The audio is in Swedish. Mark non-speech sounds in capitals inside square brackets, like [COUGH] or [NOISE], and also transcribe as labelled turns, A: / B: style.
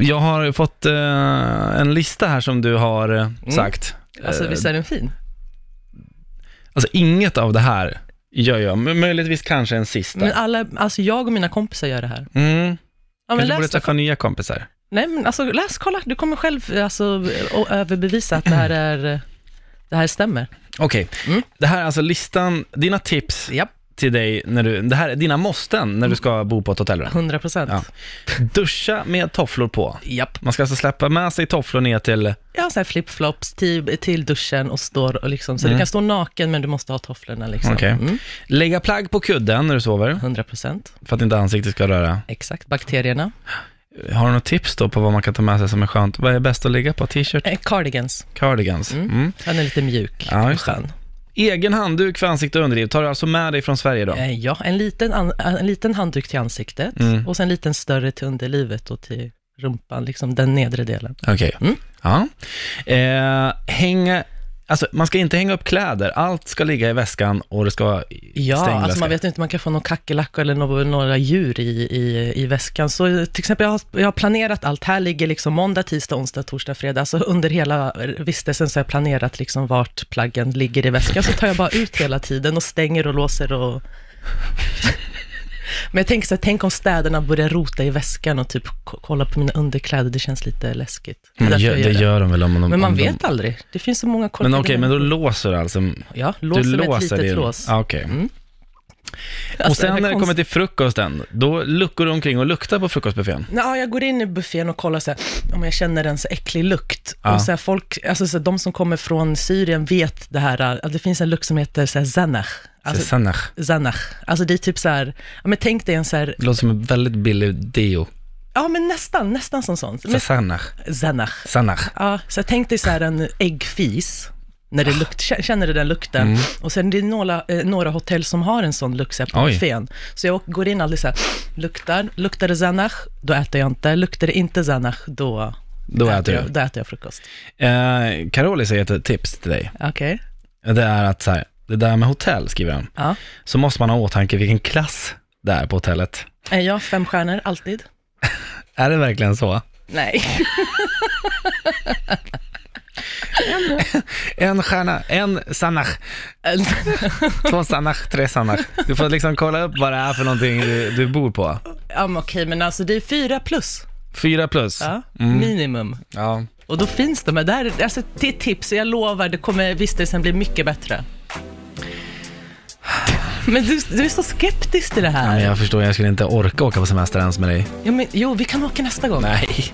A: Jag har fått eh, en lista här som du har eh, sagt. Eh,
B: Alltså visst är den fin?
A: Alltså inget av det här gör jag, men möjligtvis kanske en
B: Men
A: sista.
B: alla, alltså jag och mina kompisar gör det här.
A: Mm.
B: Ja, men
A: Kanske borde
B: läs,
A: träffa nya kompisar.
B: nej men alltså läs, kolla, du kommer själv alltså, o- överbevisa att det här, är, det här stämmer.
A: Okej,
B: Mm.
A: det här är alltså listan, dina tips
B: Japp.
A: till dig när du, det här är dina måsten när du
B: Mm.
A: ska bo på ett hotellrum.
B: 100 procent.
A: Ja. Duscha med tofflor på.
B: Japp.
A: Man ska alltså släppa med sig tofflor ner till,
B: Jag har så här flipflops till, till duschen och står och liksom, så du kan stå naken men du måste ha tofflorna liksom.
A: Mm. Okej.
B: Mm,
A: lägga plagg på kudden när du sover,
B: 100 procent.
A: för att inte ansiktet ska röra.
B: Exakt. Bakterierna.
A: Har du något tips då på vad man kan ta med sig som är skönt? Vad är bäst att lägga på? T-shirt?
B: Eh, cardigans.
A: Cardigans? Mm.
B: Den är lite mjuk
A: Ja,
B: och
A: just det.
B: skön.
A: Egen handduk för ansikte och underliv tar du alltså med dig från Sverige då?
B: Eh, Ja, en liten, an, eh, en liten handduk till ansiktet
A: Mm.
B: och sen en liten större till underlivet och till rumpan, liksom den nedre delen.
A: Okej.
B: Mm.
A: Ja. Eh, hänga, alltså man ska inte hänga upp kläder. Allt ska ligga i väskan och det ska vara i-
B: Ja,
A: stängd
B: alltså
A: väska.
B: man vet ju inte, man kan få någon kackerlacka eller några, några djur i, i, i väskan. Så till exempel, jag har, jag har planerat allt. Här ligger liksom måndag, tisdag, onsdag, torsdag, fredag. Alltså under hela vistelsen så har jag planerat liksom vart plaggen ligger i väskan. Så tar jag bara ut hela tiden och stänger och låser och... [LAUGHS] Men jag tänker så här, tänk om städerna börjar rota i väskan och typ k- kolla på mina underkläder. Det känns lite läskigt. Det är
A: Men
B: därför
A: gör,
B: jag
A: Mm, det
B: gör det.
A: gör de väl om de...
B: Men man
A: om de-
B: vet aldrig. Det finns så många
A: Men okej, men då
B: människor.
A: låser du alltså?
B: Ja, låser
A: du
B: med ett
A: låser
B: litet
A: din-
B: lås.
A: Ja, okej.
B: Mm.
A: Och
B: [LAUGHS] Alltså,
A: sen när det
B: konst-
A: kommer till frukosten, då luckar du omkring och luktar på frukostbuffén.
B: Ja, jag går in i buffén och kollar så här, om jag känner en så äcklig lukt.
A: Ja.
B: Och så här, folk, alltså så här, de som kommer från Syrien vet det här, äh, att det finns en lukt som heter så här, zanach.
A: Alltså,
B: Alltså, zanach. Alltså det är typ så här, ja, men tänk dig en så här,
A: det låter som en väldigt billig deo.
B: ja men nästan, nästan som sånt. Men,
A: Sannach.
B: zanach.
A: Sannach.
B: Ja, så här, tänk dig så här en äggfis.
A: Ah.
B: När det lukt, kä- känner du den lukten?
A: Mm.
B: Och sen det är några, eh, några hotell som har en sån lukt så här, på
A: Oj.
B: buffén. Så jag åker- går in alltid så här, luktar, luktar det zanach, då äter jag inte. Luktar det inte zanach, då
A: Då äter du.
B: jag, då äter jag frukost.
A: Eh, Caroli säger ett tips till dig.
B: Okej.
A: Det är att så här, det där med hotell, skriver han,
B: Ja.
A: så måste man ha i åtanke vilken klass det är på hotellet.
B: Är jag fem stjärnor alltid?
A: Är det verkligen så?
B: Nej. [LAUGHS]
A: En stjärna, en Sannach, två Sannach, tre Sannach. Du får liksom kolla upp vad det är för någonting du, du bor på.
B: ja, men okej, men alltså det är fyra plus.
A: Fyra plus.
B: Ja, minimum.
A: Ja.
B: Och då finns de här. Det här är alltså, det är tips, jag lovar, det kommer vistelsen bli mycket bättre. Men du, du är så skeptisk till det
A: Men
B: här.
A: jag förstår, jag skulle inte orka åka på semester ens med dig.
B: Jo, men, jo, vi kan åka nästa gång.
A: Nej.